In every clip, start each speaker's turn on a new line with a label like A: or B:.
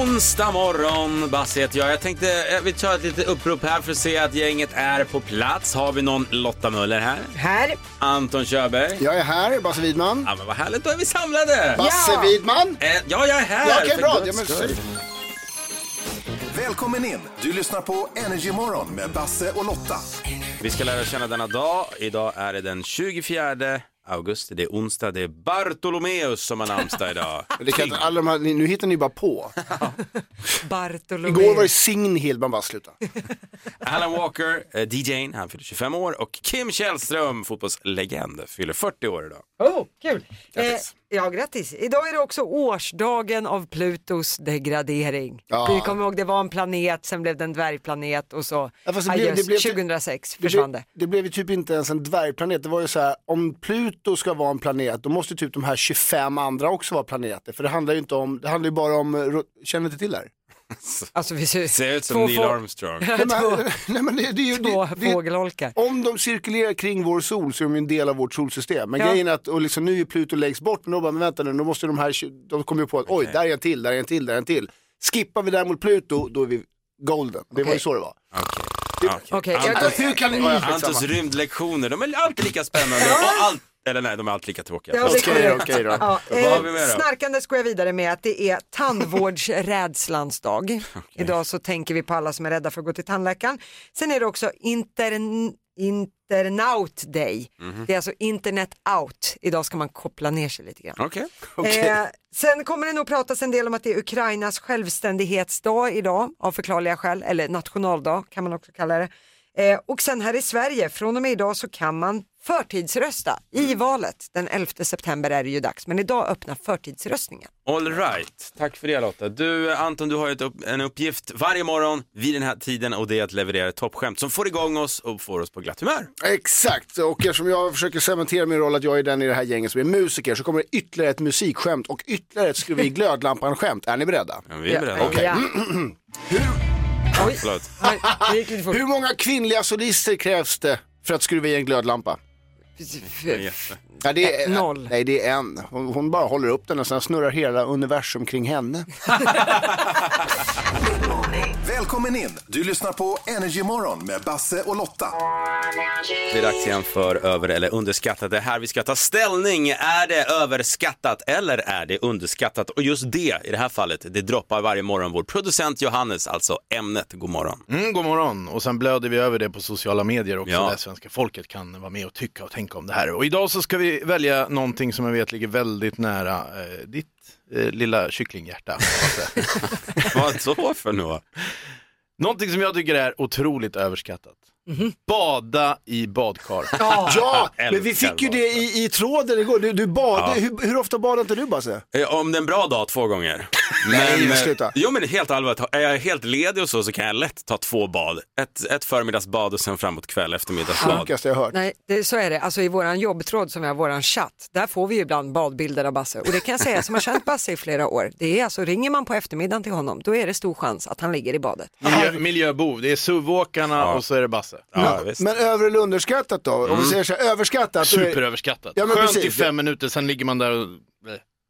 A: Onsdag morgon, Basse heter jag. Jag tänkte eh, vi tar ett litet upprop här för att se att gänget är på plats. Har vi någon Lotta Möller här?
B: Här.
A: Anton Körberg?
C: Jag är här, Basse Widman.
A: Ja men vad härligt, då är vi samlade!
C: Basse Widman!
A: Eh, ja, jag är här!
C: Ja, Okej,
A: för
C: bra.
A: guds
C: Ja,
A: skull.
C: men,
D: Välkommen in! Du lyssnar på Energy Morgon med Basse och Lotta.
A: Vi ska lära känna denna dag. Idag är det den 24 augusti, det är onsdag, det är Bartolomeus som har namnsdag idag.
C: det kan, alla de här, nu hittar ni bara på.
B: Bartolomeus.
C: Igår var det Signhild, man bara sluta.
A: Alan Walker, eh, DJn, han fyller 25 år och Kim Källström, fotbollslegend, fyller 40 år idag.
B: Oh, kul.
A: Grattis.
B: Eh, ja, grattis. Idag är det också årsdagen av Plutos degradering.
C: Ja.
B: Vi kommer ihåg det var en planet, sen blev det en dvärgplanet och så
C: Ja, fast det blev-
B: adjöss,
C: det blev- typ-
B: 2006
C: Det,
B: försvann
C: blev-
B: det.
C: det blev ju typ inte ens en dvärgplanet. Det var ju så här, om Pluto ska vara en planet, då måste typ de här 25 andra också vara planeter. För det handlar ju inte om, det handlar ju bara om, eh, ro- känner du inte till det här?
B: Alltså vi ser,
A: Ser ut som
B: två
A: Neil
B: få-
A: Armstrong.
C: Nej, men- Nej, men det, det, är ju-
B: Två
C: det, det,
B: fågelholkar.
C: Om de cirkulerar kring vår sol så är de ju en del av vårt solsystem. Men
B: Ja.
C: grejen är att, och liksom, nu är Pluto längst bort, men då bara, men vänta nu, då måste de här, tju- de kommer ju på att oj, där är en till, där är en till, där är en till. Skippar vi däremot Pluto, då är vi golden. Det var ju
B: Okej.
C: så det var.
B: Okej, jag
A: Anton-
B: går-
C: Hur kan ni... Ja,
A: Antons
C: skitsamma.
A: rymdlektioner, de är alltid lika spännande. Och allt, eller nej, de är alltid lika tråkiga.
B: Ja, det-
C: Okej, okej då.
B: Ja,
A: Vad har vi
B: eh,
A: med då?
B: snarkandes går jag vidare med att det är tandvårdsrädslans dag. Idag så tänker vi på alla som är rädda för att gå till tandläkaren. Sen är det också intern, internaut day. Det är alltså internet out. Idag ska man koppla ner sig lite grann.
A: Okej.
B: Eh, sen kommer det nog pratas en del om att det är Ukrainas självständighetsdag idag av förklarliga skäl, eller nationaldag kan man också kalla det. Eh, och sen här i Sverige, från och med idag så kan man förtidsrösta i valet. Den 11 september är det ju dags, men idag öppnar förtidsröstningen.
A: All right. Tack för det Lotta. Du eh, Anton, du har ju ett upp, en uppgift varje morgon vid den här tiden och det är att leverera ett toppskämt som får igång oss och får oss på glatt humör.
C: Exakt, och eftersom jag försöker cementera min roll att jag är den i det här gänget som är musiker så kommer det ytterligare ett musikskämt och ytterligare ett skruva i glödlampan-skämt. Är ni beredda?
A: Men vi är beredda.
B: Ja, ja.
A: Förlåt.
B: Oj, det gick lite fort.
C: Hur många kvinnliga solister krävs det för att skruva i en glödlampa?
A: Yes.
C: Ja, det är,
B: Eh, noll.
C: Nej, det är en. Hon, hon bara håller upp den och sen snurrar hela universum kring henne.
D: Välkommen in! Du lyssnar på Energy Morgon med Basse och Lotta.
A: Det är dags igen för över eller underskattat. Det är här vi ska ta ställning. Är det överskattat eller är det underskattat? Och just det, i det här fallet, det droppar varje morgon vår producent Johannes, alltså ämnet. God morgon.
E: Mm, god morgon. Och sen blöder vi över det på sociala medier också,
A: Ja.
E: där svenska folket kan vara med och tycka och tänka om det här. Och idag så ska vi välja någonting som jag vet ligger väldigt nära eh, ditt eh, lilla kycklinghjärta.
A: Vad så för något?
E: någonting som jag tycker är otroligt överskattat. Bada i badkar.
C: Ja,
A: älskar
C: men vi fick ju
A: Lotta.
C: det i, i tråden igår. Du, du bad, hur, hur ofta badar inte du Basse?
A: Eh, Om det är en bra dag, två gånger.
C: Nej,
A: eh,
C: sluta.
A: Jo, men helt allvarligt. Är jag helt ledig och så, så kan jag lätt ta två bad. Ett, ett förmiddagsbad och sen framåt kväll, eftermiddagsbad.
C: Sjukaste jag hört.
B: Nej, det, så är det. Alltså i våran jobbtråd som är våran chatt, där får vi ju ibland badbilder av Basse. Och det kan jag säga som har känt Basse i flera år, det är alltså, ringer man på eftermiddagen till honom, då är det stor chans att han ligger i badet.
E: Miljö, miljöbov, det är SUV-åkarna
A: Ja.
E: och så är det Basse.
A: Ja, visst. Mm.
C: Men över eller underskattat då? Om vi säger så här, överskattat, då är-
E: Superöverskattat.
C: Ja, men
E: Skönt i
C: precis.
E: fem minuter, sen ligger man där och...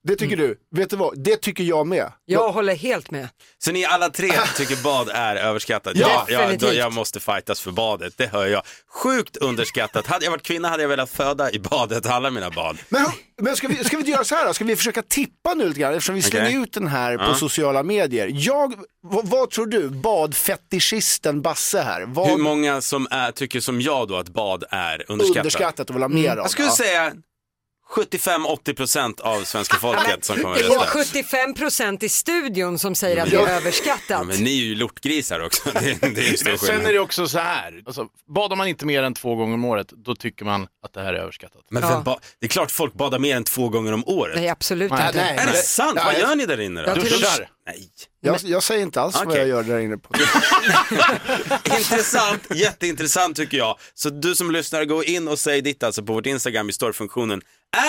C: det tycker du. Vet du vad, det tycker jag med.
B: Jag håller helt med.
A: Så ni alla tre tycker bad är överskattat?
B: Ja,
A: jag,
B: definitivt.
A: jag måste fightas för badet, det hör jag. Sjukt underskattat. Hade jag varit kvinna hade jag velat föda i badet, alla mina bad.
C: Men, men ska, vi, ska vi inte göra så här då? Ska vi försöka tippa nu lite grann eftersom vi slänger
A: Okej.
C: ut den här på sociala medier. Jag, vad, vad tror du, badfetischisten Basse här? Vad
A: Hur många som är, tycker som jag då att bad är underskattat?
C: underskattat och vill ha mer av?
A: Mm. Jag skulle
C: Ja.
A: säga 75-80 procent av svenska folket som kommer
B: Det är
A: rösta.
B: 75 procent i studion som säger att det
A: Ja.
B: är överskattat.
A: Ja, men ni är ju lortgrisar också. Det, är- det är ju stor
E: Men sen är
A: skillnad.
E: det också så här, alltså, badar man inte mer än två gånger om året, då tycker man att det här är överskattat.
A: Men
B: Ja.
A: vem ba- det är klart folk badar mer än två gånger om året.
B: Nej, absolut
E: Nej,
B: inte.
C: nej.
A: Är det sant? Vad gör ni där inne då?
B: Jag
E: Duschar.
A: Nej.
C: Jag, jag säger inte alls vad
A: Okej.
C: jag gör där inne på.
A: Intressant, jätteintressant tycker jag. Så du som lyssnar, gå in och säg ditt alltså på vårt Instagram i storyfunktionen.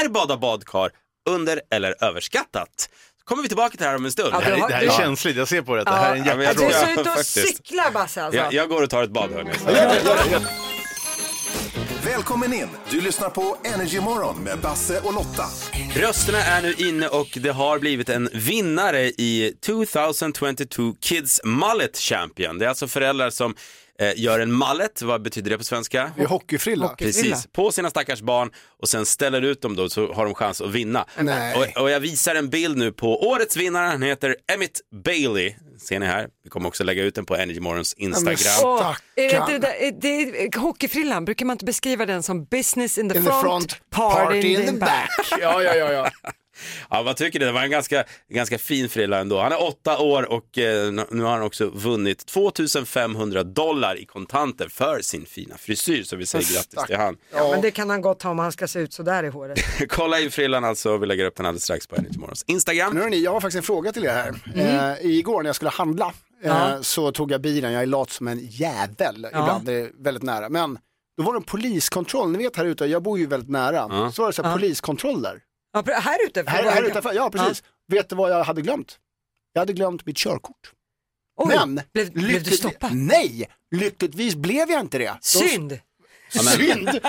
A: Är bada badkar under eller överskattat? Så kommer vi tillbaka till det här om en stund.
B: Ja,
E: Det här är, det här är
B: Ja.
E: känsligt, jag ser på det. att Det här är en
A: Ja, men
E: jävla...
A: jag
B: Du
A: tror
B: är så
A: jag-
B: ute och
A: faktiskt.
B: cyklar Basse alltså.
A: Jag, jag går och tar ett bad hörni.
D: Välkommen in! Du lyssnar på Energy Morgon med Basse och Lotta.
A: Rösterna är nu inne och det har blivit en vinnare i 2022 Kids Mullet Champion. Det är alltså föräldrar som eh, gör en mullet, vad betyder det på svenska?
C: Det är hockeyfrilla.
A: Precis, på sina stackars barn och sen ställer ut dem då så har de chans att vinna.
C: Nej.
A: Och, och jag visar en bild nu på årets vinnare, han heter Emmett Bailey. Ser ni här, vi kommer också lägga ut den på Energy Morgons Instagram.
C: Ja,
B: Åh,
C: men
B: är det, inte det,
C: Stackarn.
B: där, är det, hockeyfrillan, brukar man inte beskriva den som business in the,
C: In the
B: front,
C: front,
B: party, in the back?
C: Ja, ja, ja. ja.
A: Ja, vad tycker du? Det var en ganska, ganska fin frilla ändå. Han är åtta år och eh, nu- nu har han också vunnit 2500 dollar i kontanter för sin fina frisyr. Så vi säger grattis till han.
B: Ja, men det kan han gott ha om han ska se ut sådär i håret.
A: Kolla in frillan alltså. Vi lägger upp den alldeles strax på Energy Morgons
C: Nu
A: Instagram.
C: hörni, jag har faktiskt en fråga till er här.
B: Mm.
C: Eh, igår när jag skulle handla eh, så tog jag bilen, jag är lat som en jävel ibland, det är väldigt nära. Men då var det en poliskontroll, ni vet här ute, jag bor ju väldigt nära, så var det så här, poliskontroller.
B: Ja, pr- här ute?
C: Här, här utanför, ja precis. Vet du vad jag hade glömt? Jag hade glömt mitt körkort.
B: Oj,
C: Men Mm.
B: blev, blev du
C: lyckligt-
B: stoppad?
C: Nej, lyckligtvis blev jag inte det. De-
B: Synd!
C: Synd!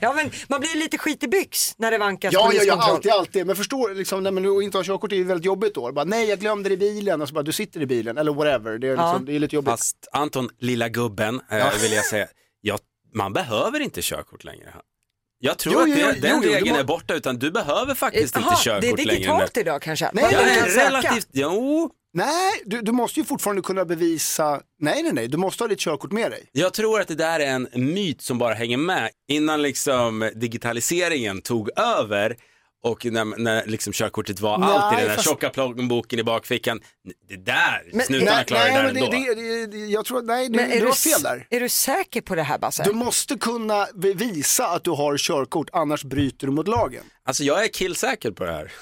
B: Ja, men man blir lite skit i byx när det vankas
C: Ja, ja, ja,
B: poliskontroll.
C: alltid, alltid. Men förstår, liksom, när man inte har körkort är ju väldigt jobbigt då. Bara, nej, jag glömde det i bilen. Och så bara, du sitter i bilen. Eller whatever. Det är, liksom,
B: Ja.
C: det är lite jobbigt.
A: Fast Anton, lilla gubben, eh, vill jag säga, ja, man behöver inte körkort längre. Jag tror
C: Jo,
A: att
C: jo,
A: det,
C: jo,
A: den
C: jo, jo,
A: regeln
C: det må-
A: är borta, utan du behöver faktiskt
B: Jaha,
A: inte
B: det är
A: körkort längre. nu.
B: digitalt idag kanske?
C: Nej,
B: Man
A: Ja,
B: kan
A: det är
B: söka.
A: relativt, jo,
C: Nej, du, du måste ju fortfarande kunna bevisa. Nej, nej, nej. Du måste ha ditt körkort med dig.
A: Jag tror att det där är en myt som bara hänger med innan liksom digitaliseringen tog över och när, när liksom körkortet var
C: Nej,
A: allt i den där
C: fast-
A: tjocka plånboken i bakfickern. Det där,
B: Men-
A: snutarna klarar det där
C: men det,
A: ändå.
C: det, det, det, jag tror, nej, det,
B: Men är
C: du
B: du,
C: har
B: s-
C: fel där.
B: är du säker på det här Basse?
C: Du måste kunna bevisa att du har körkort, annars bryter du mot lagen.
A: Alltså jag är killsäker på det här.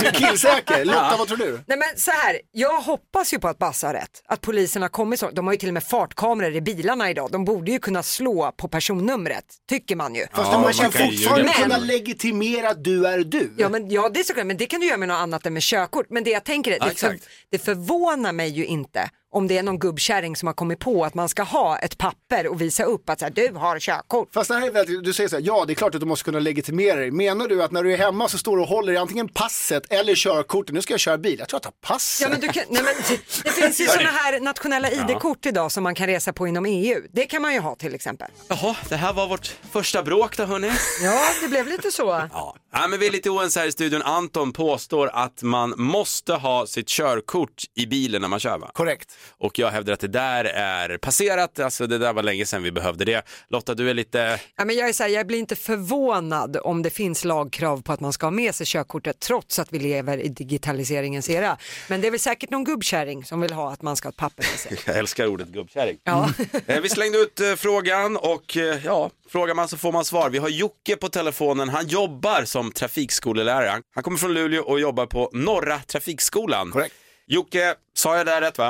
C: Du är killsäker. Lotta, vad tror du?
B: Nej men så här, jag hoppas ju på att Basse har rätt. Att polisen har kommit så De har ju till och med fartkameror i bilarna idag. De borde ju kunna slå på personnumret, tycker man ju.
C: Fast
A: Ja,
C: du
A: man
C: måste ju
A: kan ju
C: fortfarande
B: ljuga.
C: kunna
B: Men-
C: legitimera att du är du.
B: Ja men ja, det är såklart, men det kan du göra med något annat än med körkort. Men det jag tänker är,
A: Ja,
B: det, för,
A: exakt.
B: det förvånar mig ju inte om det är någon gubbkärring som har kommit på att man ska ha ett papper och visa upp att så här, du har körkort.
C: Fast det här är väldigt, du säger så här, ja det är klart att du måste kunna legitimera dig. Menar du att när du är hemma så står du och håller i antingen passet eller körkortet, nu ska jag köra bil, jag tror jag tar passet.
B: Ja, men du kan, nej, men det, det finns ju sådana här nationella ID-kort idag som man kan resa på inom EU. Det kan man ju ha till exempel.
A: Jaha, det här var vårt första bråk då hörni.
B: Ja, det blev lite så.
A: Ja. ja, men vi är lite oense här i studion. Anton påstår att man måste ha sitt körkort i bilen när man kör va?
C: Korrekt.
A: Och jag hävdar att det där är passerat, alltså det där var länge sedan vi behövde det. Lotta, du är lite...
B: Ja, men jag, är så här, jag blir inte förvånad om det finns lagkrav på att man ska ha med sig körkortet trots att vi lever i digitaliseringens era. Men det är väl säkert någon gubbkärring som vill ha att man ska ha ett papper med sig. Mm.
A: Jag älskar ordet gubbkärring.
B: Ja.
A: Eh, Vi slängde ut eh, frågan och eh, ja, frågar man så får man svar. Vi har Jocke på telefonen. Han jobbar som trafikskolelärare. Han- Han kommer från Luleå och jobbar på Norra Trafikskolan.
C: Korrekt.
A: Jocke, sa jag det här rätt va?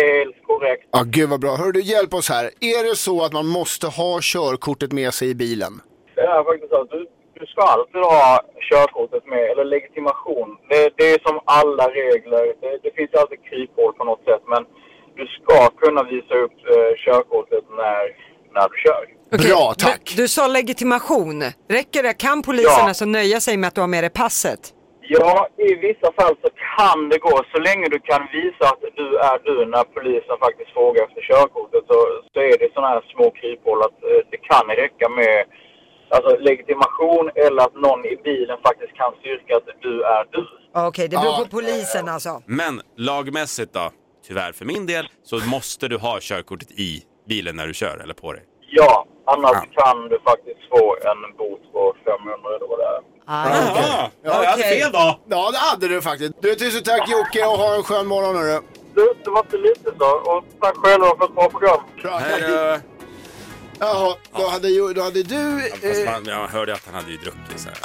F: Helt korrekt.
C: Ja gud vad bra, hör du hjälp oss här. Är det så att man måste ha körkortet med sig i bilen?
F: Det är faktiskt så att du, du ska alltid ha körkortet med, eller legitimation. Det, det är som alla regler. Det, det finns ju alltid kryphål på något sätt, men du ska kunna visa upp eh, körkortet när, när du kör.
B: Okej,
C: Bra, tack.
B: Du, du sa legitimation. Räcker det? Kan polisen
F: Ja.
B: alltså nöja sig med att du har med dig passet?
F: Ja, i vissa fall så kan det gå. Så länge du kan visa att du är du när polisen faktiskt frågar efter körkortet så, så är det sådana här små kryphål att eh, det kan räcka med alltså, legitimation eller att någon i bilen faktiskt kan styrka att du är du.
B: Ja, Okej, det beror
C: Ja.
B: på polisen alltså.
A: Men lagmässigt då, tyvärr för min del, så måste du ha körkortet i bilen när du kör eller på dig.
F: Ja, annars kan du faktiskt få en bot på 500 eller vad det är.
B: Ah.
A: Ja, jag hade
B: okej.
A: fel då.
C: Ja det hade du faktiskt. Du tusen tack Jocke och ha en skön morgon hörru.
F: Du, det var inte lite så. Och tack själva för ett bra program.
A: Här, eh,
C: Jaha, då hade, ju- då hade du...
A: fast
C: Eh,
A: man, jag hörde att han hade ju druckit så här.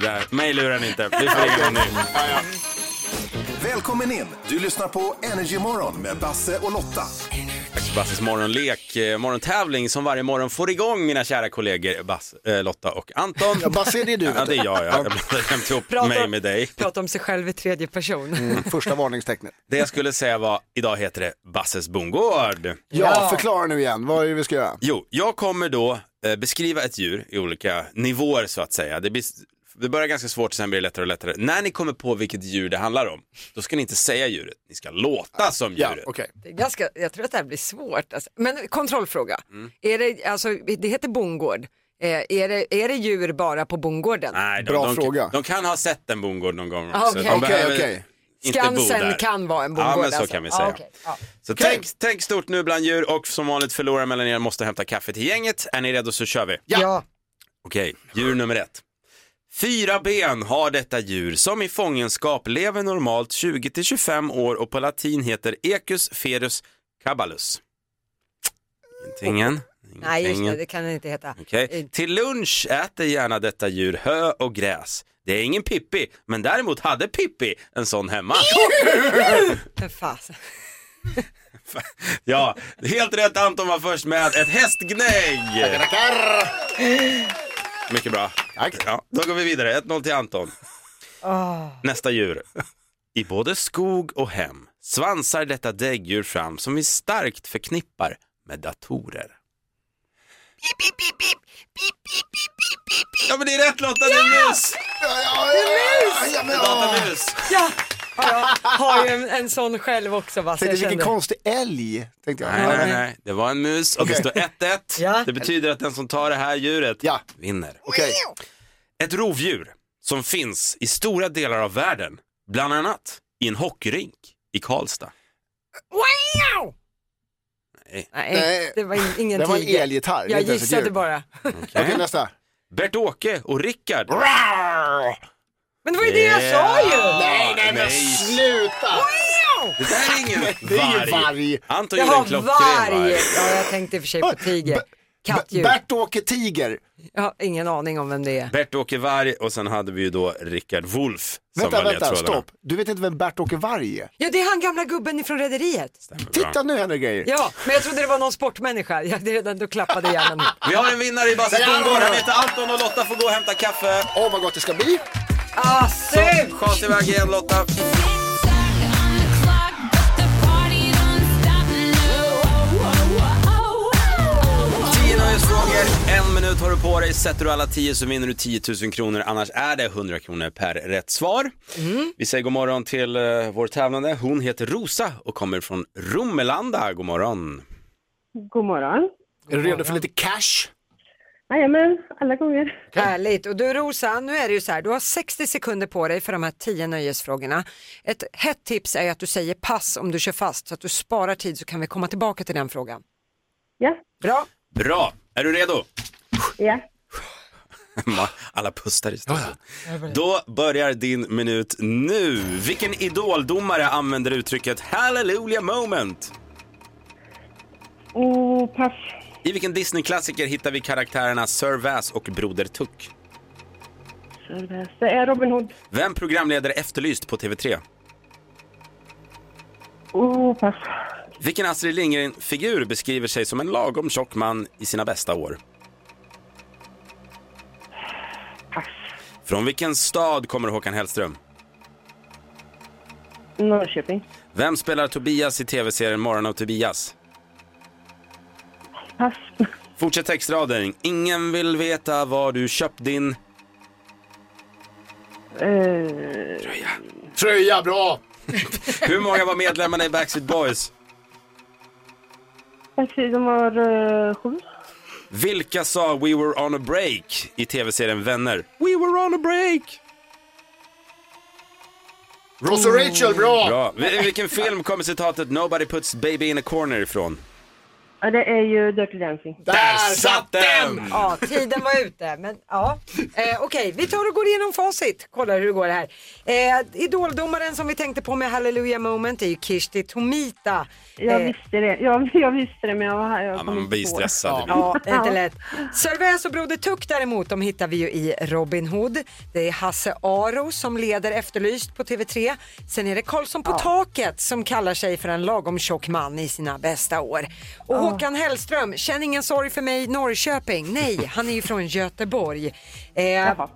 A: det där, mig lurar ni inte. Vi får ringa honom nu.
D: Välkommen in! Du lyssnar på Energymorgon med Basse och Lotta.
A: Dags för Basses morgonlek, eh, morgontävling som varje morgon får igång mina kära kollegor Bass, eh, Lotta och Anton.
C: Ja, Basse, det är du, vet
A: Ja, det är
C: du.
A: jag. Ja. Jag blandar jämt ihop mig med dig.
B: prata om sig själv i tredje person.
C: Första varningstecknet.
A: Det jag skulle säga var, idag heter det Basses bondgård.
C: Ja, förklara nu igen. Vad är det vi ska göra?
A: Jo, jag kommer då eh, beskriva ett djur i olika nivåer så att säga. Det, blir, det börjar ganska svårt, sen blir det lättare och lättare. När ni kommer på vilket djur det handlar om, då ska ni inte säga djuret, ni ska låta som
C: Ah, Ja,
A: djuret.
C: okej.
B: Det är ganska, jag tror att det här blir svårt. Alltså. Men kontrollfråga.
A: Mm.
B: Är det, alltså, det heter bondgård. Eh, är, det, är det djur bara på bondgården?
A: Nej,
C: Bra
A: de,
C: fråga.
A: De kan ha sett en bondgård någon gång
B: Ah,
A: också.
B: okej.
A: De
C: Okej,
A: behöver
C: okej.
A: inte bo
B: Skansen
A: där.
B: kan vara en bondgård.
A: Ja, men så
B: alltså.
A: kan vi säga.
B: Ah, okej. Ja.
A: Så tänk, tänk stort nu bland djur och som vanligt förloraren mellan er måste hämta kaffe till gänget. Är ni redo så kör vi.
B: Ja.
A: Okej, djur nummer ett. Fyra ben har detta djur som i fångenskap lever normalt 20-25 år och på latin heter Ecus ferus caballus. Intingen.
B: Nej, just det, det kan det inte heta. Eh,
A: Okej. Till lunch äter gärna detta djur hö och gräs. Det är ingen Pippi, men däremot hade Pippi en sån hemma.
B: Men fasen.
A: Ja, helt rätt Anton var först med ett hästgnägg. Mycket bra. Ja, då går vi vidare, 1-0 till Anton. Nästa djur. I både skog och hem svansar detta däggdjur fram som vi starkt förknippar med datorer. Ja men det är rätt Lotta, det är mus! Det är datamus!
B: Ja, ja, jag har ju en, en sån själv också. Va? Så
C: Tänkte
B: jag
C: vilken
B: kände.
C: konstig älg, tänkte jag.
A: Nej, nej, nej, det var en mus och det står 1-1.
B: Ja.
A: Det betyder att den som tar det här djuret
C: Ja.
A: vinner.
C: Okej.
A: Ett rovdjur som finns i stora delar av världen, bland annat i en hockeyrink i Karlstad.
B: Wow!
A: Nej.
B: Nej, det var in, ingen
C: Det var en
B: tiger.
C: elgitarr. det är
B: Jag
C: inte ens ett djur.
B: gissade bara.
C: Okej, nästa.
A: Bert-Åke och Rickard.
B: Men det var ju det jag sa ju!
A: Nej, nej, men
C: Sluta!
A: Det där är ingen varg.
C: Det är ju varg.
A: Anton
B: Jag
A: gjorde en
B: har
A: klockren
B: varg!
A: varg.
B: Ja, jag tänkte i och för sig på tiger. Kattdjur.
C: Bert-Åke Tiger.
B: Jag har ingen aning om vem det är.
A: Bert-Åke Varg och sen hade vi ju då Rickard Wolff som
C: Vänta,
A: var
C: vänta,
A: ledtrådarna.
C: stopp. Du vet inte vem Bert-Åke Varg är?
B: Ja, det är han gamla gubben ifrån Rederiet.
C: Titta nu händer grejer.
B: Ja, men jag trodde det var någon sportmänniska. Ja, det, då klappade hjärnan.
A: Vi har en vinnare i Basses bondgård. Han heter Anton och Lotta får gå och hämta kaffe.
C: Åh vad gott det ska bli.
B: Ah, surt!
A: Schas iväg igen Lotta. Tio nöjesfrågor. En minut har du på dig. Sätter du alla tio så vinner du 10 000 kronor. Annars är det 100 kronor per rätt svar. Vi säger god morgon till eh, vår tävlande. Hon heter Rosa och kommer från Romelanda. God morgon.
G: God morgon.
C: Är du redo för lite cash?
G: Jajamän, alla gånger.
B: Härligt. Och du Rosa, nu är det ju så här, du har 60 sekunder på dig för de här 10 nöjesfrågorna. Ett hett tips är att du säger pass om du kör fast så att du sparar tid så kan vi komma tillbaka till den frågan.
G: Ja,
B: Bra.
A: Bra, är du redo?
G: ja.
A: Alla pustar i studion. Då börjar din minut nu. Vilken idoldomare använder uttrycket hallelujah moment?
G: Och pass.
A: I vilken Disney-klassiker hittar vi karaktärerna Sir Vass och Broder Tuck?
G: Service. Det är Robin Hood.
A: Vem programleder Efterlyst på TV3?
G: Och pass.
A: Vilken Astrid Lindgren-figur beskriver sig som en lagom tjock man i sina bästa år?
G: Pass.
A: Från vilken stad kommer Håkan Hellström?
G: Norrköping.
A: Vem spelar Tobias i tv-serien Morgon av Tobias?
G: Pass.
A: Fortsätt textraden. Ingen vill veta var du köpt din...
G: Eh,
C: Tröja, bra!
A: Hur många var medlemmarna i Backstreet Boys?
G: pass. De har eh, sju.
A: Vilka sa We were on a break i tv-serien Vänner? We were on a break!
C: Ross och Rachel, bra!
A: Bra. Vil- Vilken film kommer citatet Nobody puts baby in a corner ifrån?
G: Ja, det är ju Dirty Dancing.
A: Där satt den!
B: Ja, tiden var ute. Men ja. Eh, Okej, vi tar och går igenom facit. Kollar hur det går här. Eh, idoldomaren som vi tänkte på med Hallelujah moment är ju Kirsti Tomita.
G: Jag
B: Eh,
G: visste det. Jag, jag visste det, men jag var här. Jag
A: Ja,
G: kom
A: man
G: inte
A: blir
G: på.
A: stressad.
B: Ja, det är inte lätt. Sylvester och Broder Tuck däremot, de hittar vi ju i Robin Hood. Det är Hasse Aro som leder Efterlyst på TV3. Sen är det Karlsson på taket som kallar sig för en lagom tjock man i sina bästa år. Och Håkan Hellström, känn ingen sorg för mig Norrköping. Nej, han är ju från Göteborg. Eh,
G: Jaha.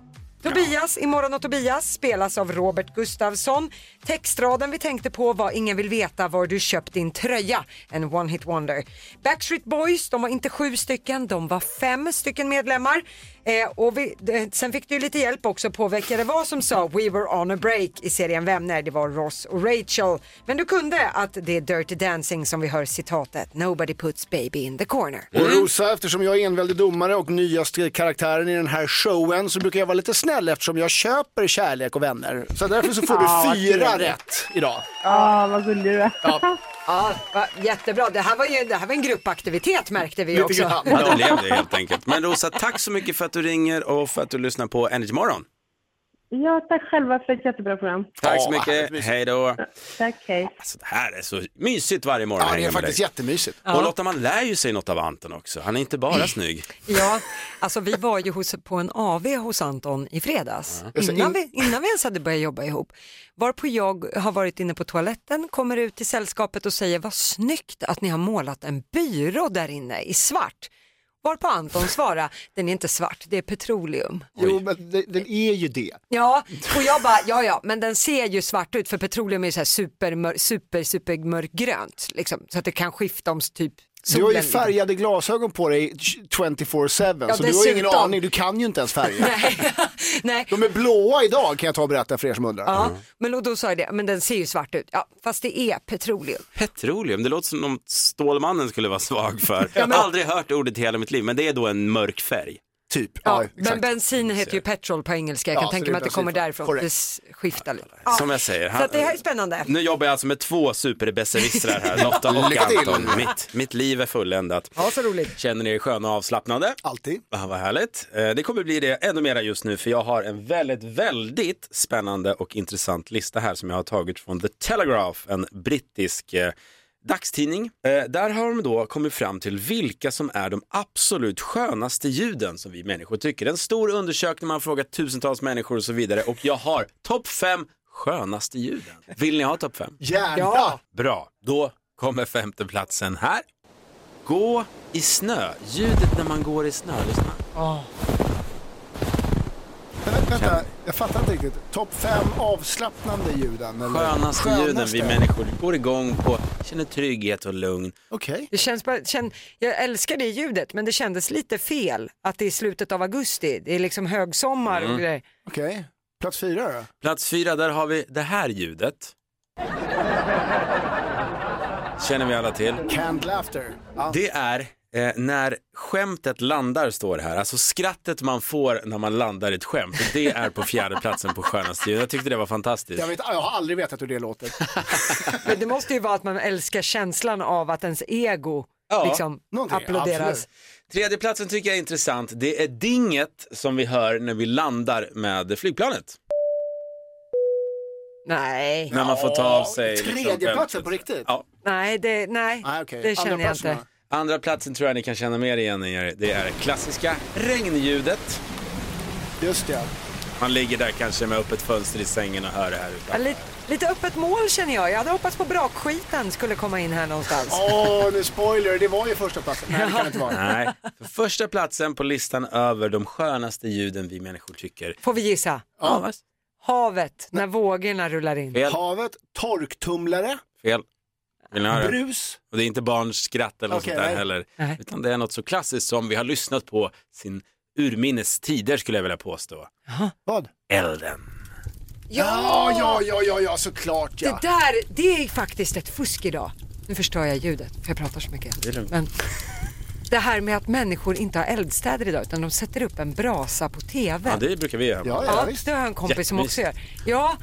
B: Tobias, Imorgon och Tobias spelas av Robert Gustafsson. Textraden vi tänkte på var Ingen vill veta var du köpt din tröja, en one hit wonder. Backstreet Boys, de var inte sju stycken, de var fem stycken medlemmar. Eh, och vi, eh, sen fick du lite hjälp också på vilka det var som sa We were on a break i serien Vänner, det var Ross och Rachel. Men du kunde att det är Dirty Dancing som vi hör citatet Nobody puts baby in the corner.
C: Och Rosa, eftersom jag är enväldig domare och nyaste karaktären i den här showen så brukar jag vara lite snäll eftersom jag köper kärlek och vänner. Så därför så får
B: Ja,
C: du
B: vad
C: fyra
B: kul.
C: rätt idag.
G: Ja, vad gullig du är.
B: Ja, va, jättebra. Det här var ju det här var en gruppaktivitet märkte vi också.
C: grann.
A: Ja, det blev det helt enkelt. Men Rosa, tack så mycket för att du ringer och för att du lyssnar på Energy Morgon.
G: Ja, tack själva för ett jättebra program.
A: Tack så
C: Ja, härligt
A: mycket,
C: mysigt.
A: hej då.
G: Tack, hej.
A: Alltså, det här är så mysigt varje morgon att
C: Ja, det
A: hänga
C: är
A: med dig.
C: faktiskt jättemysigt.
A: Och Lotta, man lär ju sig något av Anton också. Han är inte bara snygg.
B: Ja, alltså vi var ju hos, på en AV hos Anton i fredags,
C: Alltså,
B: innan,
C: in-
B: vi, innan vi ens hade börjat jobba ihop. Varpå jag har varit inne på toaletten, kommer ut till sällskapet och säger vad snyggt att ni har målat en byrå där inne i svart. Varpå Anton svarar, den är inte svart, det är petroleum.
C: Jo, men det- den är ju det.
B: Ja, och jag bara, ja ja, men den ser ju svart ut för petroleum är ju så här supermör, super, supermörkgrönt, liksom, så att det kan skifta om typ
C: Du har ju
B: solen-
C: färgade glasögon på dig 24-7
B: Ja,
C: så du har ju ingen
B: dessutom.
C: aning, du kan ju inte ens färger.
B: Nej, liksom." nej.
C: De är blåa idag kan jag ta och berätta för er som undrar. Mm.
B: Ja, men och då sa jag det, men den ser ju svart ut. Ja, fast det är petroleum.
A: Petroleum, det låter som om Stålmannen skulle vara svag för. Jag har aldrig hört ordet i hela mitt liv, men det är då en mörk färg.
C: Typ.
B: Ja,
C: Ja,
B: men
C: exakt.
B: bensin heter ju petrol på engelska, jag
C: Ja,
B: kan
C: så
B: tänka
C: det
B: mig att
C: är
B: det kommer
C: bensin.
B: därifrån.
C: Korrekt.
B: Det s- skiftar lite. Ja.
A: Som jag säger.
B: Så att det här är spännande.
A: Nu jobbar jag alltså med två superbesserwissrar här, Lotta och
C: Lycka till.
A: Anton. Mitt, mitt liv är fulländat.
B: Ja, så roligt.
A: Känner ni er sköna och avslappnade?
C: Alltid.
A: Ah, vad härligt. Eh, Det kommer bli det ännu mera just nu för jag har en väldigt, väldigt spännande och intressant lista här som jag har tagit från The Telegraph, en brittisk eh, dagstidning. Eh, Där har de då kommit fram till vilka som är de absolut skönaste ljuden som vi människor tycker. En stor undersökning, man har frågat tusentals människor och så vidare och jag har topp fem skönaste ljuden. Vill ni ha topp fem?
C: Gärna!
A: Bra, då kommer femteplatsen här. Gå i snö. Ljudet när man går i snö, lyssna.
C: Men vä- vänta, jag fattar inte riktigt. Topp fem avslappnande ljuden? Eller?
A: Skönaste, ljuden vi
C: Skönaste?
A: människor går igång på, känner trygghet och lugn.
C: Okej.
B: Det känns bara, känn, jag älskar det ljudet, men det kändes lite fel att det är slutet av augusti. Det är liksom högsommar
C: Mm.
B: och grejer.
C: Okej, plats fyra då?
A: Plats fyra, där har vi det här ljudet. Känner vi alla till.
C: Canned laughter. Ja.
A: Det är eh, när skämtet landar, står det här. Alltså skrattet man får när man landar i ett skämt. Det är på fjärde platsen på skönaste ljud. Jag tyckte det var fantastiskt.
C: Jag, vet, jag har aldrig vetat hur det låter.
B: Men det måste ju vara att man älskar känslan av att ens ego
A: Ja,
B: liksom
C: någonting,
B: applåderas.
C: absolut.
A: Tredje platsen tycker jag är intressant. Det är dinget som vi hör när vi landar med flygplanet.
B: Nej,
A: När man får ta av sig...
C: Tredje platsen på riktigt?
A: liksom Ja.
B: nej, det, nej.
C: Nej, okej.
B: det känner
C: Andra
B: jag
C: platsen
B: inte.
C: då?
A: Andra platsen tror jag ni kan känna mer igen er. Det är klassiska regnljudet.
C: Just det.
A: Man ligger där kanske med öppet fönster i sängen och hör det här
B: Ja,
A: utan.
B: lite, lite öppet mål känner jag. Jag hade hoppats på brakskiten skulle komma in här någonstans.
C: Åh, nu spoiler, det var ju första platsen. Nej, det kan det inte vara.
A: Nej, för första platsen på listan över de skönaste ljuden vi människor tycker.
B: Får vi gissa?
A: Ja, va?
B: Havet, när vågorna rullar in.
A: fel,
C: Havet, torktumlare,
A: fel. Vill ni höra?
C: brus.
A: Och det är inte barns skratt eller något
C: Okej,
A: sånt där
C: nej.
A: heller.
B: Nej.
A: Utan det är något så klassiskt som vi har lyssnat på sin urminnes tider skulle jag vilja påstå.
C: Vad?
A: Elden.
C: Ja, ja, ja, ja, ja, såklart ja.
B: Det där, det är faktiskt ett fusk idag. Nu förstör jag ljudet, för jag pratar så mycket. Det Men det här med att människor inte har eldstäder idag, utan de sätter upp en brasa på TV.
A: Ja, det brukar vi göra.
C: Ja, ja,
B: Ja,
C: visst.
B: det har jag en kompis som också gör. Ja,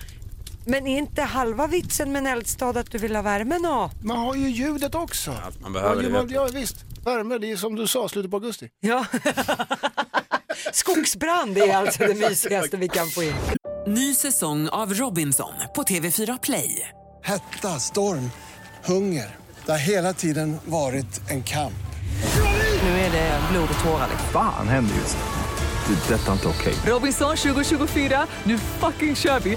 B: Men är inte halva vitsen med en eldstad att du vill ha värmen då?
C: Man har ju ljudet också.
A: Allt man behöver,
C: ja,
A: det
C: ja,
A: vet du.
C: ja, visst. Värme, det är som du sa, slutet på augusti.
B: Ja. Skogsbrand är alltså det mysigaste vi kan få in.
H: Ny säsong av Robinson på TV4 Play.
I: Hetta, storm, hunger. Det har hela tiden varit en kamp.
H: Nu är det blod och tårar. liksom.
J: Fan händer just nu. Det. är Detta är inte okej.
H: Robinson 2024, nu fucking kör vi!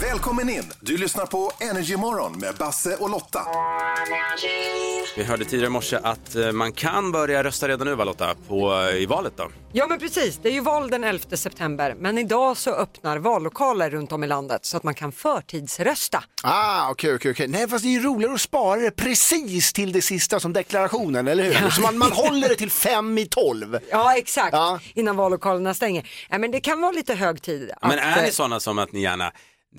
D: Välkommen in! Du lyssnar på Energy Morgon med Basse och Lotta.
A: Vi hörde tidigare i morse att eh, man kan börja rösta redan nu, va, Lotta, på, eh, i valet då.
B: Ja men precis, det är ju val den 11 september men idag så öppnar vallokaler runt om i landet så att man kan förtidsrösta.
C: Ah, okej, okej, okej. Nej, fast det är ju roligare att spara det precis till det sista som deklarationen, eller hur? Så man, man håller det till fem i tolv.
B: Ja exakt, innan vallokalerna stänger. Ja, men det kan vara lite hög tid.
A: Men
B: att,
A: är
B: eh,
A: ni sådana som att ni gärna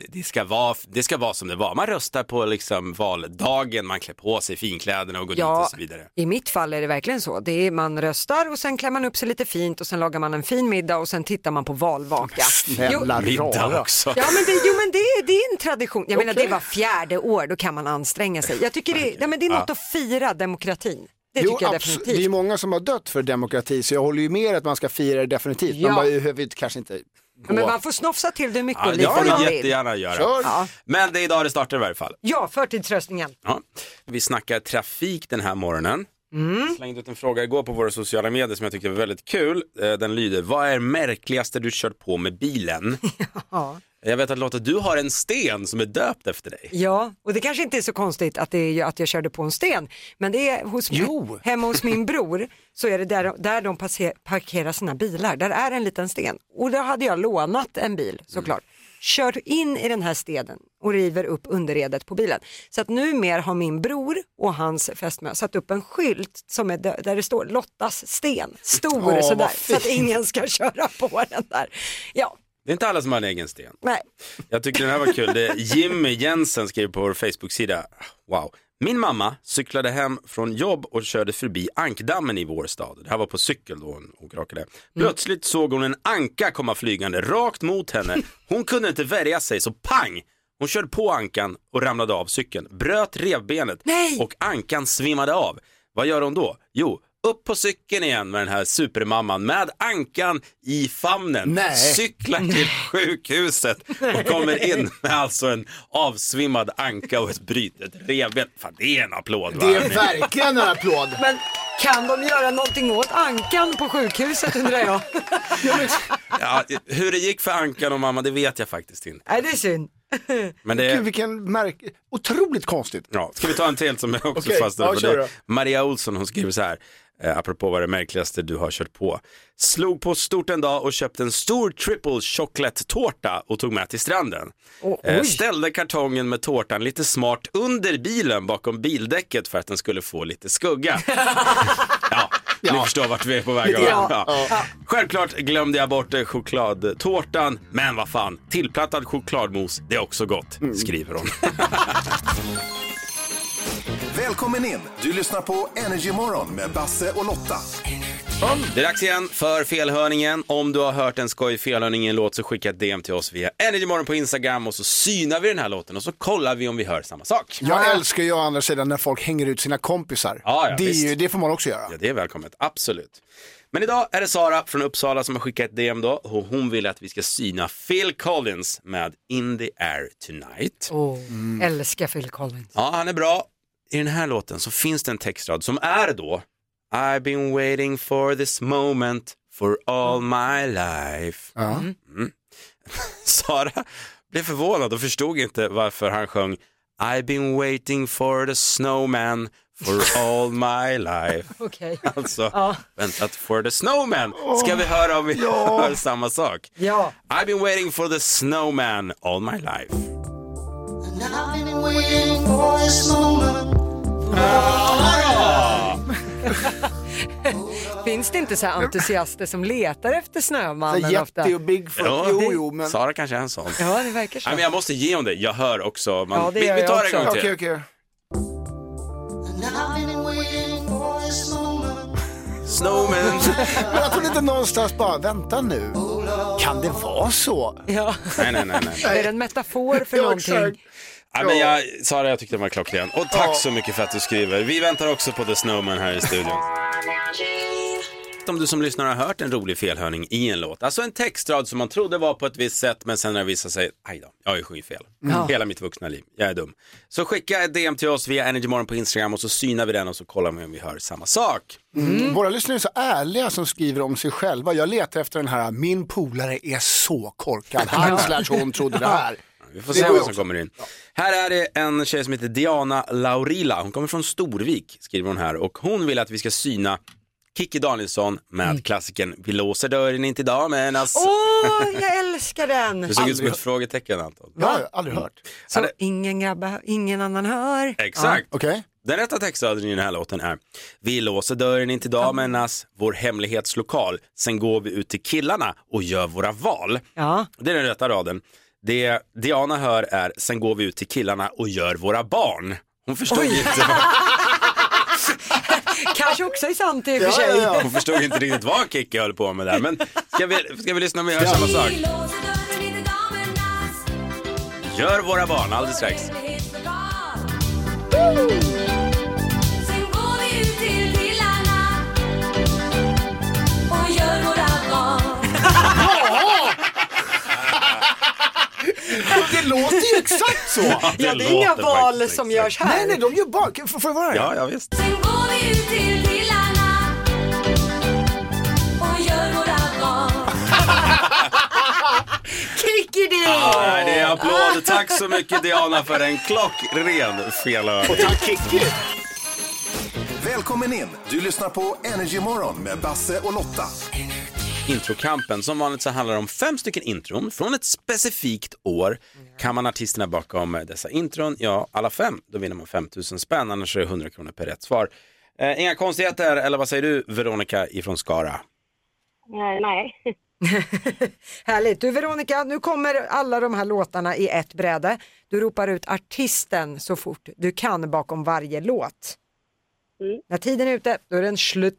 A: det ska, vara, det ska vara som det var. Man röstar på liksom valdagen, man klär på sig finkläderna och går dit
B: Ja,
A: och så vidare.
B: i mitt fall är det verkligen så. Det är, man röstar och sen klär man upp sig lite fint och sen lagar man en fin middag och sen tittar man på valvaka. Jo,
C: Snälla rara.
B: Ja men, det, jo, men det, är- det är en tradition. Jag menar
C: Okej.
B: det var fjärde år, då kan man anstränga sig. Jag tycker det, nej, men det är något
C: Ja.
B: att fira demokratin. Det
C: Jo,
B: tycker jag
C: abs-
B: definitivt.
C: Det är ju många som har dött för demokrati, så jag håller ju med att man ska fira det definitivt.
B: Ja.
C: Man bara, ju, vi kanske inte
B: Ja, men man får snofsa till det hur mycket
A: Ja,
B: och
A: det
B: lite
A: får
B: man
A: ni
B: vill.
A: jättegärna göra.
B: Kör. Ja.
A: Men det är idag det startar i varje fall.
B: Ja, förtidsröstningen.
A: Ja. Vi snackar trafik den här morgonen.
B: Mm.
A: Jag slängde ut en fråga igår på våra sociala medier som jag tyckte var väldigt kul. Eh, Den lyder, vad är det märkligaste du kört på med bilen?
B: Ja.
A: jag vet att Lotta, du har en sten som är döpt efter dig.
B: ja, och det kanske inte är så konstigt att, det är ju att jag körde på en sten, men det är hos
A: Jo.
B: hemma hos min bror så är det där, där de passe- parkerar sina bilar, där är en liten sten och där hade jag lånat en
A: Mm.
B: bil såklart. Kört in i den här stenen och river upp underredet på bilen. Så att numera har min bror och hans fästmö satt upp en skylt som är dö- där det står Lottas sten, stor
A: Åh, vad
B: sådär, så att
A: fint.
B: ingen ska köra på den där. Ja,
A: Det är inte alla som har en egen sten.
B: nej.
A: Jag tyckte den här var kul. Det är Jimmy Jensen skrev på vår Facebook-sida. Wow. Min mamma cyklade hem från jobb och körde förbi ankdammen i vår stad. Det här var på cykel då hon åkrakade. Plötsligt såg hon en anka komma flygande rakt mot henne. Hon kunde inte värja sig så pang! Hon körde på ankan och ramlade av cykeln, bröt revbenet och ankan svimmade av. Vad gör hon då? Jo, upp på cykeln igen med den här supermamman med ankan i famnen.
C: Nej.
A: Cyklar till sjukhuset och kommer in med alltså en avsvimmad anka och ett brutet revben. Fan, det är en applåd va?
C: Det är verkligen en applåd.
B: Men kan de göra någonting åt ankan på sjukhuset undrar jag?
A: Ja, hur det gick för ankan och mamma, det vet jag faktiskt inte.
B: Nej, det är synd.
A: Men det
C: Gud, vilken märk... Otroligt konstigt.
A: Ja, ska vi ta en till som jag också
C: Okej,
A: fastnade
C: ja,
A: på?
C: kör
A: Det.
C: då.
A: Maria Olsson hon skriver så här, eh, apropå vad det märkligaste du har kört på. Slog på stort en dag och köpte en stor triple chocolate-tårta och tog med till stranden. Eh,
K: oj.
A: ställde kartongen med tårtan lite smart under bilen bakom bildäcket för att den skulle få lite skugga. Ni förstår vart vi är på väg. va?
K: Ja.
A: Ja. Självklart glömde jag bort eh, chokladtårtan, men vad fan, tillplattad chokladmos, det är också gott, skriver hon.
D: Välkommen in! Du lyssnar på Energy Morgon med Basse och Lotta.
A: Det är dags igen för felhörningen. Om du har hört en skoj felhörningen-låt så skicka ett DM till oss via Energymorgon på Instagram och så synar vi den här låten och så kollar vi om vi hör samma sak.
C: Jag älskar ju å andra sidan när folk hänger ut sina kompisar.
A: Ja, ja,
C: det, är
A: visst.
C: ju, det får man också göra.
A: Ja, det är välkommet, absolut. Men idag är det Sara från Uppsala som har skickat ett DM då och hon vill att vi ska syna Phil Collins med In the Air Tonight. Mm.
B: Älskar Phil Collins.
A: Ja, han är bra. I den här låten så finns det en textrad som är då I've been waiting for this moment for all my life. Mm. Sara blev förvånad och förstod inte varför han sjöng I've been waiting for the snowman for all my life.
B: Okej.
A: Alltså, väntat for the snowman. Ska vi höra om vi
B: Ja.
A: hör samma sak?
B: Ja.
A: I've been waiting for the snowman all my life.
K: I've been waiting for this moment.
A: Ah!
B: finns det inte så här entusiaster som letar efter Snömannen
C: Så Yeti
B: ofta?
C: och Bigfoot,
A: Sara kanske är en sån.
B: Ja, det verkar så.
A: Nej, men jag måste ge om det. Jag hör också. Man...
B: Ja, det
A: vi,
B: gör
A: vi
B: jag
A: tar
B: också.
A: en gång till.
B: Okej,
A: Snowman.
C: Men jag trodde inte någonstans bara, vänta nu, kan det vara så?
B: Ja.
A: Nej, nej, nej, nej.
B: Är det en metafor för någonting?
A: Ja, men jag, Sara, jag tyckte den var klockren. Och tack så mycket för att du skriver. Vi väntar också på The Snowman här i studion. Om du som lyssnar har hört en rolig felhörning i en låt, alltså en textrad som man trodde var på ett visst sätt men sen när det visar sig, aj då, jag har ju sjungit fel.
B: Mm.
K: Ja.
A: Hela mitt vuxna liv, jag är dum. Så skicka ett DM till oss via Energymorgon på Instagram och så synar vi den och så kollar vi om vi hör samma sak.
C: Mm. Våra lyssnare är så ärliga som skriver om sig själva. Jag letar efter den här, min polare är så korkad, han slash hon trodde det här.
A: Vi får
C: Det
A: se
C: går
A: vad
C: ju
A: som kommer in. Här är det en tjej som heter Diana Laurila. Hon kommer från Storvik, skriver hon här. Och hon vill att vi ska syna Kikki Danielsson med klassikern Vi låser dörren inte idag men alltså.
B: Mm. Åh, jag älskar den!
A: Det såg ut som ett frågetecken Anton.
C: Ja, jag har aldrig hört.
B: Så ingen grabbar, ingen annan hör.
A: Exakt.
B: Ja.
A: Den rätta textraden i den här låten är Vi låser dörren inte idag men ass, vår hemlighetslokal. Sen går vi ut till killarna och gör våra val.
B: Ja.
A: Det är den rätta raden. Det Diana hör är Sen går vi ut till killarna och gör våra barn. Hon förstod
B: Oj.
A: inte vad
B: Kanske också i sant i och för sig.
A: Hon förstod inte riktigt vad Kikki höll på med där. Men ska vi, ska vi lyssna om vi hör samma sak? Gör våra barn alldeles strax.
C: Det låter ju exakt så.
B: Ja, det Ja, det är inga låter val faktiskt som exakt. görs här.
C: Nej, nej, de gör bara, får får jag vara
A: Ja, ja visst.
B: Kikki du!
A: Ja, det är
B: Ah.
A: applåd. Tack så mycket Diana för en klockren felhörning.
D: Välkommen in! Du lyssnar på Energymorgon med Basse och Lotta.
A: Introkampen, som vanligt så handlar det om fem stycken intron från ett specifikt år. Kan man artisterna bakom dessa intron, ja alla fem, då vinner man 5000 spänn, annars är det 100 kronor per rätt svar. Eh, inga konstigheter, eller vad säger du Veronica ifrån Skara?
G: Nej, nej.
B: Härligt. Du Veronica, nu kommer alla de här låtarna i ett bräde. Du ropar ut artisten så fort du kan bakom varje låt. När tiden är ute, då är den slut.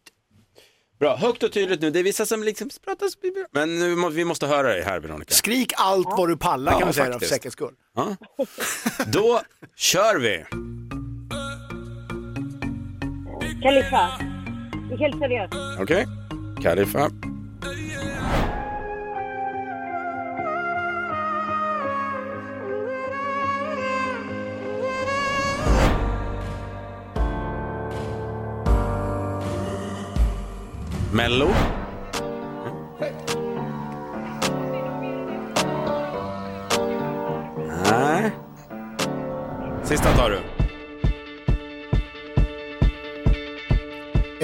A: Bra, högt och tydligt nu. Det är vissa som liksom pratar, men nu, må- vi måste höra dig här Veronica.
C: Skrik allt vad du pallar
A: Ja,
C: kan man säga då, för
A: faktiskt.
C: säkerhets skull.
A: Ja. Då kör vi!
L: Kaliffa. Helt seriöst.
A: Okej, Kalifa. Mello. Nej. Sista tar du.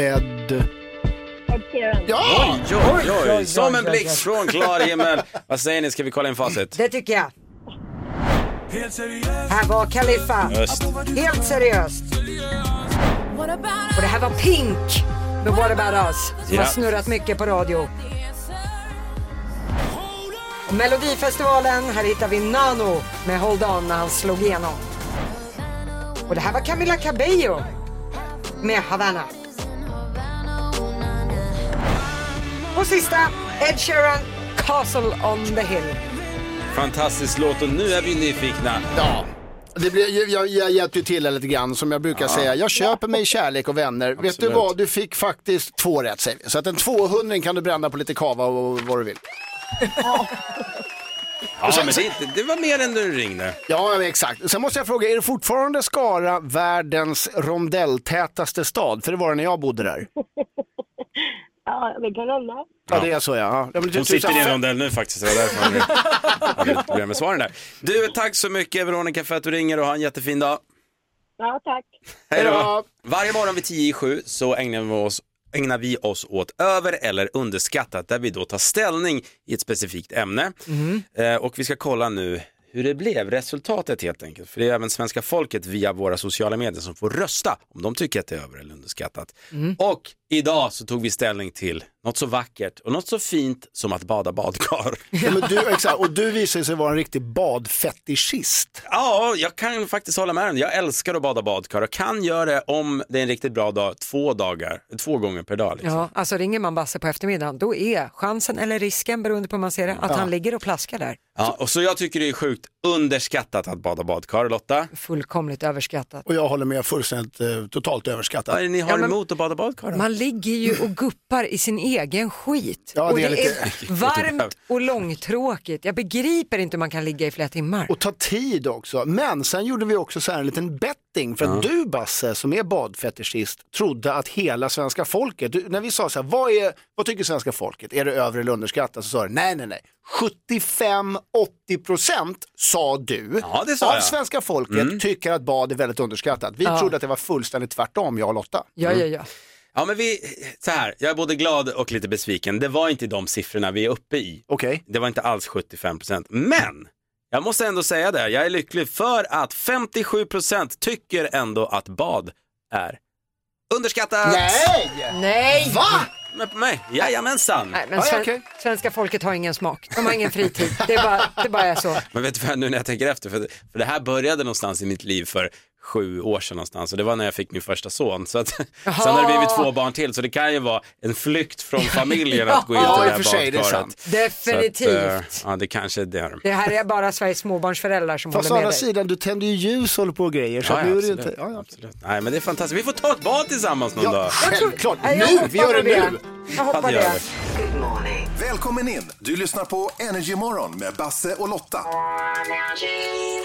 C: Ed...
L: Ed Sheeran.
C: Ja!
A: Oj, oj,
B: Oj, oj, oj,
A: oj. Som en
B: oj, oj.
A: blixt från klar himmel. Vad säger ni, ska vi kolla in facit?
B: Det tycker jag. Här var Kaliffa.
A: Just.
B: Helt seriöst. Och det här var Pink med What About Us som
A: Ja.
B: har snurrat mycket på radio. Och Melodifestivalen, här hittar vi Nano med Hold On när han slog igenom. Och det här var Camila Cabello med Havana. Och sista, Ed Sheeran, Castle on the Hill.
A: Fantastisk låt och nu är vi nyfikna.
C: Ja. Det blir, jag, jag, jag hjälpte ju till här lite grann som jag brukar säga. Jag köper mig kärlek och vänner. Vet du
A: Absolut.
C: vad, du fick faktiskt två rätt säger vi. Så att en 200 kan du bränna på lite kava och vad du vill.
A: Ja, men det, är inte- det var mer än du ringde.
C: Ja, men exakt. Sen måste jag fråga, är det fortfarande Skara världens rondelltätaste stad? För det var det när jag bodde där.
L: Ja, det kan hända.
C: Ja, det är typ så ja. ja. men
A: Hon
C: tusen-
A: sitter i en rondell nu faktiskt. Det var därför hon hade lite problem med svaren där. Du, tack så mycket Veronica för att du ringer och ha en jättefin dag.
L: Ja, tack.
A: Hej då! Varje morgon vid 10 i 7 så ägnar vi oss ägnar vi oss åt över eller underskattat där vi då tar ställning i ett specifikt ämne. Eh, och vi ska kolla nu hur det blev, resultatet helt enkelt. För det är även svenska folket via våra sociala medier som får rösta om de tycker att det är över eller underskattat. Och Idag så tog vi ställning till något så vackert och något så fint som att bada badkar.
C: Ja, men du, exakt, och du visar sig vara en riktig badfetischist.
A: Ja, jag kan faktiskt hålla med om det. Jag älskar att bada badkar och kan göra det om det är en riktigt bra dag, två dagar, två gånger per dag. Liksom.
B: Ja, alltså ringer man Basse på eftermiddagen då är chansen eller risken beroende på hur man ser det att
A: Ja.
B: han ligger och plaskar där.
A: Ja, och så jag tycker det är sjukt underskattat att bada badkar, Lotta.
B: Fullkomligt överskattat.
C: Och jag håller med fullständigt eh, totalt överskattat.
A: Vad är det ni har
B: Ja, men-
A: emot att bada badkar? då?
B: Man ligger ju och guppar i sin egen skit.
C: Ja,
B: och
C: det
B: det
C: är
B: är,
C: lite-
B: varmt och långtråkigt. Jag begriper inte hur man kan ligga i flera timmar.
C: Och ta tid också. Men sen gjorde vi också så här en liten betting. För att du Basse, som är badfetischist, trodde att hela svenska folket, du, när vi sa så här, vad, är, vad tycker svenska folket? Är det över eller underskattat? Så sa du, nej, nej, nej. 75-80 procent sa du
A: Ja, det sa
C: av
A: jag. Mm.
C: svenska folket tycker att bad är väldigt underskattat. Vi
A: Ja.
C: trodde att det var fullständigt tvärtom, jag och Lotta.
B: Ja, ja, ja.
A: Ja, men vi, så här, jag är både glad och lite besviken. Det var inte de siffrorna vi är uppe i.
C: Okej.
A: Det var inte alls 75 procent. Men jag måste ändå säga det, jag är lycklig för att 57 procent tycker ändå att bad är underskattat.
B: Nej!
C: Va?
A: Men på mig, jajamensan.
B: Nej, men sven- svenska folket har ingen smak. De har ingen fritid. Det är bara, det bara är så.
A: Men vet du vad, nu när jag tänker efter, för, för det här började någonstans i mitt liv för sju år sedan någonstans och det var när jag fick min första son. Så att, sen har det blivit två barn till så det kan ju vara en flykt från familjen att gå in till det
C: Ja, i och
A: här
C: för sig, det är sant.
A: badkaret.
B: Definitivt.
A: Så att, eh, ja, det kanske är det.
B: Det här är bara Sveriges småbarnsföräldrar som
C: Fast å
B: håller
C: andra
B: med dig.
C: sidan, du tänder ju ljus och håller på och grejer. Så
A: Ja, ja,
C: nu är det
A: absolut.
C: inte... ja, ja.
A: Nej, men det är fantastiskt. Vi får ta ett bad tillsammans någon
C: Ja,
A: dag.
C: Självklart,
B: Nej, jag
C: nu! Vi gör
B: hoppar
C: det
B: på det.
C: nu!
B: Jag hoppar
A: Fan, det gör
B: det.
D: Välkommen in! Du lyssnar på Energy Morgon med Basse och Lotta.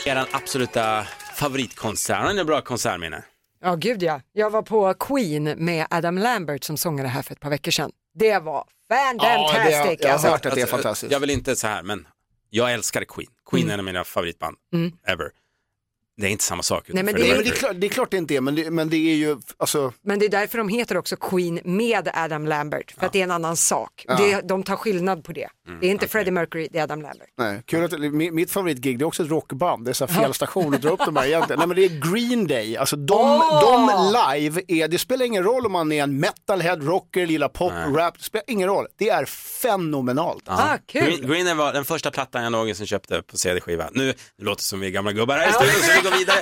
A: Er absoluta favoritkonsert. Har ni några bra konsertminne?
B: Ja, gud ja. Jag var på Queen med Adam Lambert som sångade här för ett par veckor sedan. Det var fantastic. alltså.
A: Alltså, Jag vill inte så här, men jag älskar Queen. Queen är en av mina favoritband
B: Mm.
A: ever. Det är inte samma sak.
B: Nej, men
A: utan
B: det-
A: Freddie
C: Nej, men det, är
A: Mercury.
C: klart, det är klart det inte är, men det, men det är ju, alltså,
B: Men det är därför de heter också Queen med Adam Lambert, för att det är en annan sak.
C: Ja.
B: Det, de tar skillnad på det. det är inte Freddie Mercury, det är Adam Lambert.
C: nej. Kul att, mi- mitt favoritgig det är också ett rockband, det är så här fel station att dra upp de här egentligen. Nej men det är Green Day, alltså de,
B: Åh!
C: de live, är, det spelar ingen roll om man är en metalhead, rocker, gillar pop, rap, det spelar ingen roll. Det är fenomenalt.
B: Ah,
A: Ja. Green, Green Day var den första plattan jag någonsin köpte på CD-skiva. Nu det låter som vi är gamla gubbar här i studion så vi går vidare.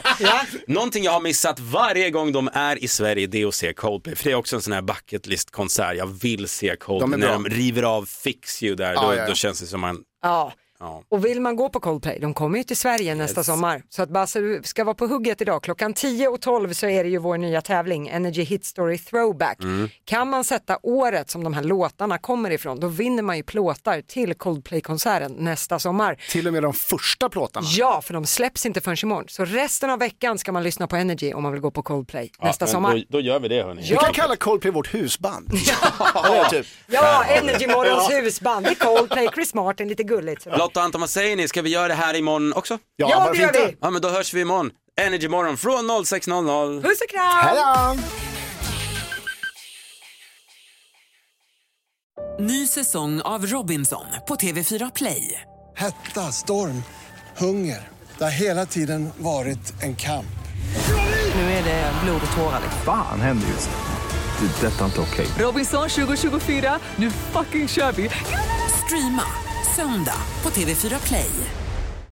A: Någonting jag har missat varje gång de är i Sverige det är att se Coldplay. För det är också en sån här bucket list konsert. Jag vill se Coldplay.
C: De är
A: När
C: bra.
A: de river av Fix You där
C: Ja,
A: då,
C: ja, ja.
A: då känns det som man...
B: Ja.
A: Ja.
B: Och vill man gå på Coldplay, de kommer ju till Sverige nästa sommar. Så att Basse du ska vara på hugget idag. Klockan 10 och 12 så är det ju vår nya tävling, Energy Hit Story Throwback. Kan man sätta året som de här låtarna kommer ifrån, då vinner man ju plåtar till Coldplay-konserten nästa sommar.
C: Till och med de första plåtarna.
B: Ja, för de släpps inte förrän imorgon. Så resten av veckan ska man lyssna på Energy om man vill gå på Coldplay nästa
A: men
B: sommar.
A: Då, då gör vi det hörni.
C: Vi kan kalla Coldplay vårt husband. Eller typ.
B: Ja, Energy Morgons husband. Det är Coldplay, Chris Martin, lite gulligt. sådär.
A: Lotta och Anton, vad säger ni? Ska vi göra det här imorgon också?
C: Ja,
B: Ja,
C: varför
B: det gör
C: inte?
B: vi.
A: Ja, men då hörs vi imorgon. Energy morgon från 06.00.
B: Puss och kram!
C: Hejdå!
H: Ny säsong av Robinson på TV4 Play.
I: Hetta, storm, hunger. Det har hela tiden varit en kamp.
H: Nu är det blod och tårar.
J: Fan händer just det. Det är detta inte okej.
H: Robinson 2024, nu fucking kör vi! Streama söndag på TV4 Play.